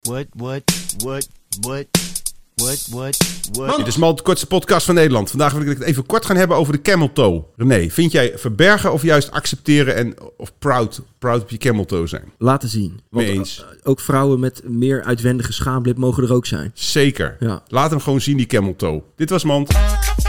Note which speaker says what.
Speaker 1: What, what, what, what, what, what, what.
Speaker 2: Dit is maar de kortste podcast van Nederland. Vandaag wil ik het even kort gaan hebben over de camel toe. René, vind jij verbergen of juist accepteren en of proud, proud op je camel toe zijn?
Speaker 3: Laten zien. Want
Speaker 2: Mee eens.
Speaker 3: eh, ook vrouwen met meer uitwendige schaamlip mogen er ook zijn.
Speaker 2: Zeker.
Speaker 3: Ja.
Speaker 2: Laat hem gewoon zien, die camel toe. Dit was Mand.